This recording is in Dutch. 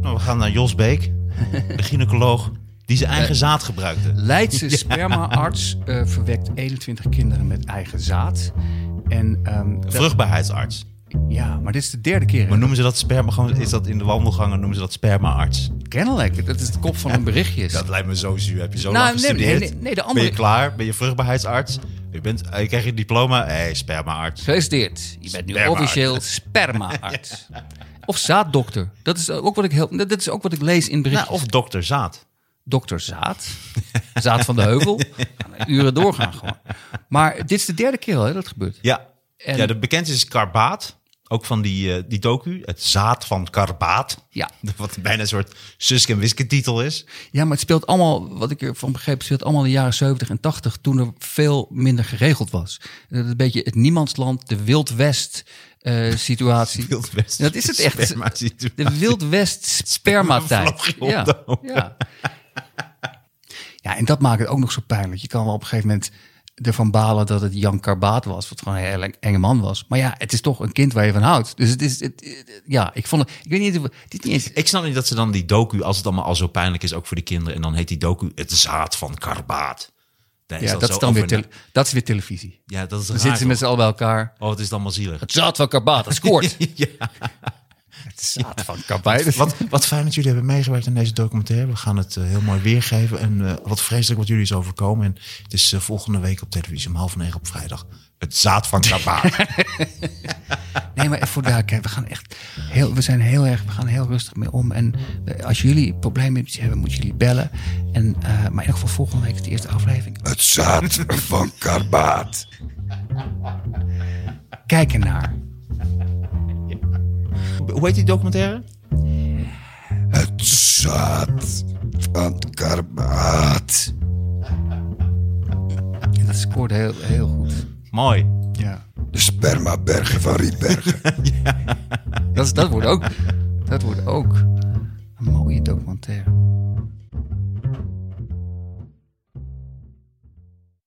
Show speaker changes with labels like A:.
A: Nou, we gaan naar Jos Beek, de gynaecoloog die zijn eigen zaad gebruikte.
B: Leidse spermaarts eh, verwekt 21 kinderen met eigen zaad. En, ehm, dat-
A: Vruchtbaarheidsarts.
B: ja, maar dit is de derde keer. hè?
A: Maar noemen ze dat sperma gewoon, is dat in de wandelgangen noemen ze dat spermaarts?
B: Kennelijk, dat is de kop van een berichtje. is.
A: Dat lijkt me zo zuur. Heb je zo
B: Nou,
A: lang
B: nee, nee,
A: gestudeerd?
B: nee, nee, de
A: Ben
B: andere-
A: je klaar? Ben je vruchtbaarheidsarts? Je, bent, eh, je krijgt je diploma. Hé, hey, spermaarts.
B: Gefeliciteerd. Je bent nu
A: Spermaarts.
B: officieel spermaarts. Of zaaddokter. Dat is ook wat ik, heel, dat is ook wat ik lees in berichten.
A: Nou, of dokter Zaad.
B: dokter Zaad. Zaad van de Heuvel. Kan Uren doorgaan gewoon. Maar dit is de derde keer al hè, dat het gebeurt.
A: Ja,
B: En-
A: ja de bekendste is Karbaat. Ook van die, eh, die docu. Het zaad van Karbaat.
B: Ja.
A: Wat bijna een soort Suske en Wiske titel is.
B: Ja, maar het speelt allemaal, wat ik ervan begreep, het speelt allemaal in de jaren 70 en 80, toen er veel minder geregeld was. Dat is een beetje het niemandsland, de Wild West eh, situatie.
A: Wild West.
B: Ja, dat is het echt.
A: Sperma situatie.
B: De Wild West spermatijd.
A: Spermavlogje
B: Ja,
A: omhoog.
B: ja. ja, en dat maakt het ook nog zo pijnlijk. Je kan wel op een gegeven moment ervan balen dat het Jan Karbaat was, wat gewoon een hele enge man was. Maar ja, het is toch een kind waar je van houdt. Dus het is, het, het- ja, ik vond het, ik weet niet, of- het is niet eens
A: Ik snap niet dat ze dan die docu, als het allemaal al zo pijnlijk is, ook voor de kinderen. En dan heet die docu het zaad van Karbaat. Dan
B: Ja, dat,
A: zo
B: is dan weer
A: over-
B: tele- dat is weer televisie.
A: Ja, dat is
B: Dan
A: raar,
B: zitten ze
A: toch?
B: met z'n allen bij elkaar.
A: Oh, het is allemaal zielig.
B: Het zaad van Karbaat, dat scoort.
A: Ja.
B: Het zaad van Karbaat.
A: Wat, wat fijn dat jullie hebben meegewerkt aan deze documentaire. We gaan het eh, heel mooi weergeven. En eh, wat vreselijk wat jullie is overkomen. En het is eh, volgende week op televisie om half negen op vrijdag. Het zaad van Karbaat.
B: Nee, maar voor daar, kijk, we gaan echt heel, we zijn heel erg, we gaan heel rustig mee om. En eh, als jullie problemen met iets hebben, moeten jullie bellen. En, eh, maar in ieder geval volgende week is de eerste aflevering.
C: Het zaad van Karbaat.
B: Kijk ernaar.
A: Hoe heet die documentaire?
C: Het zaad van Karbaat.
B: En dat scoorde heel, heel goed.
A: Mooi.
B: Ja.
C: De spermabergen van Rietbergen.
B: Dat, is, dat wordt ook, dat wordt ook een mooie documentaire.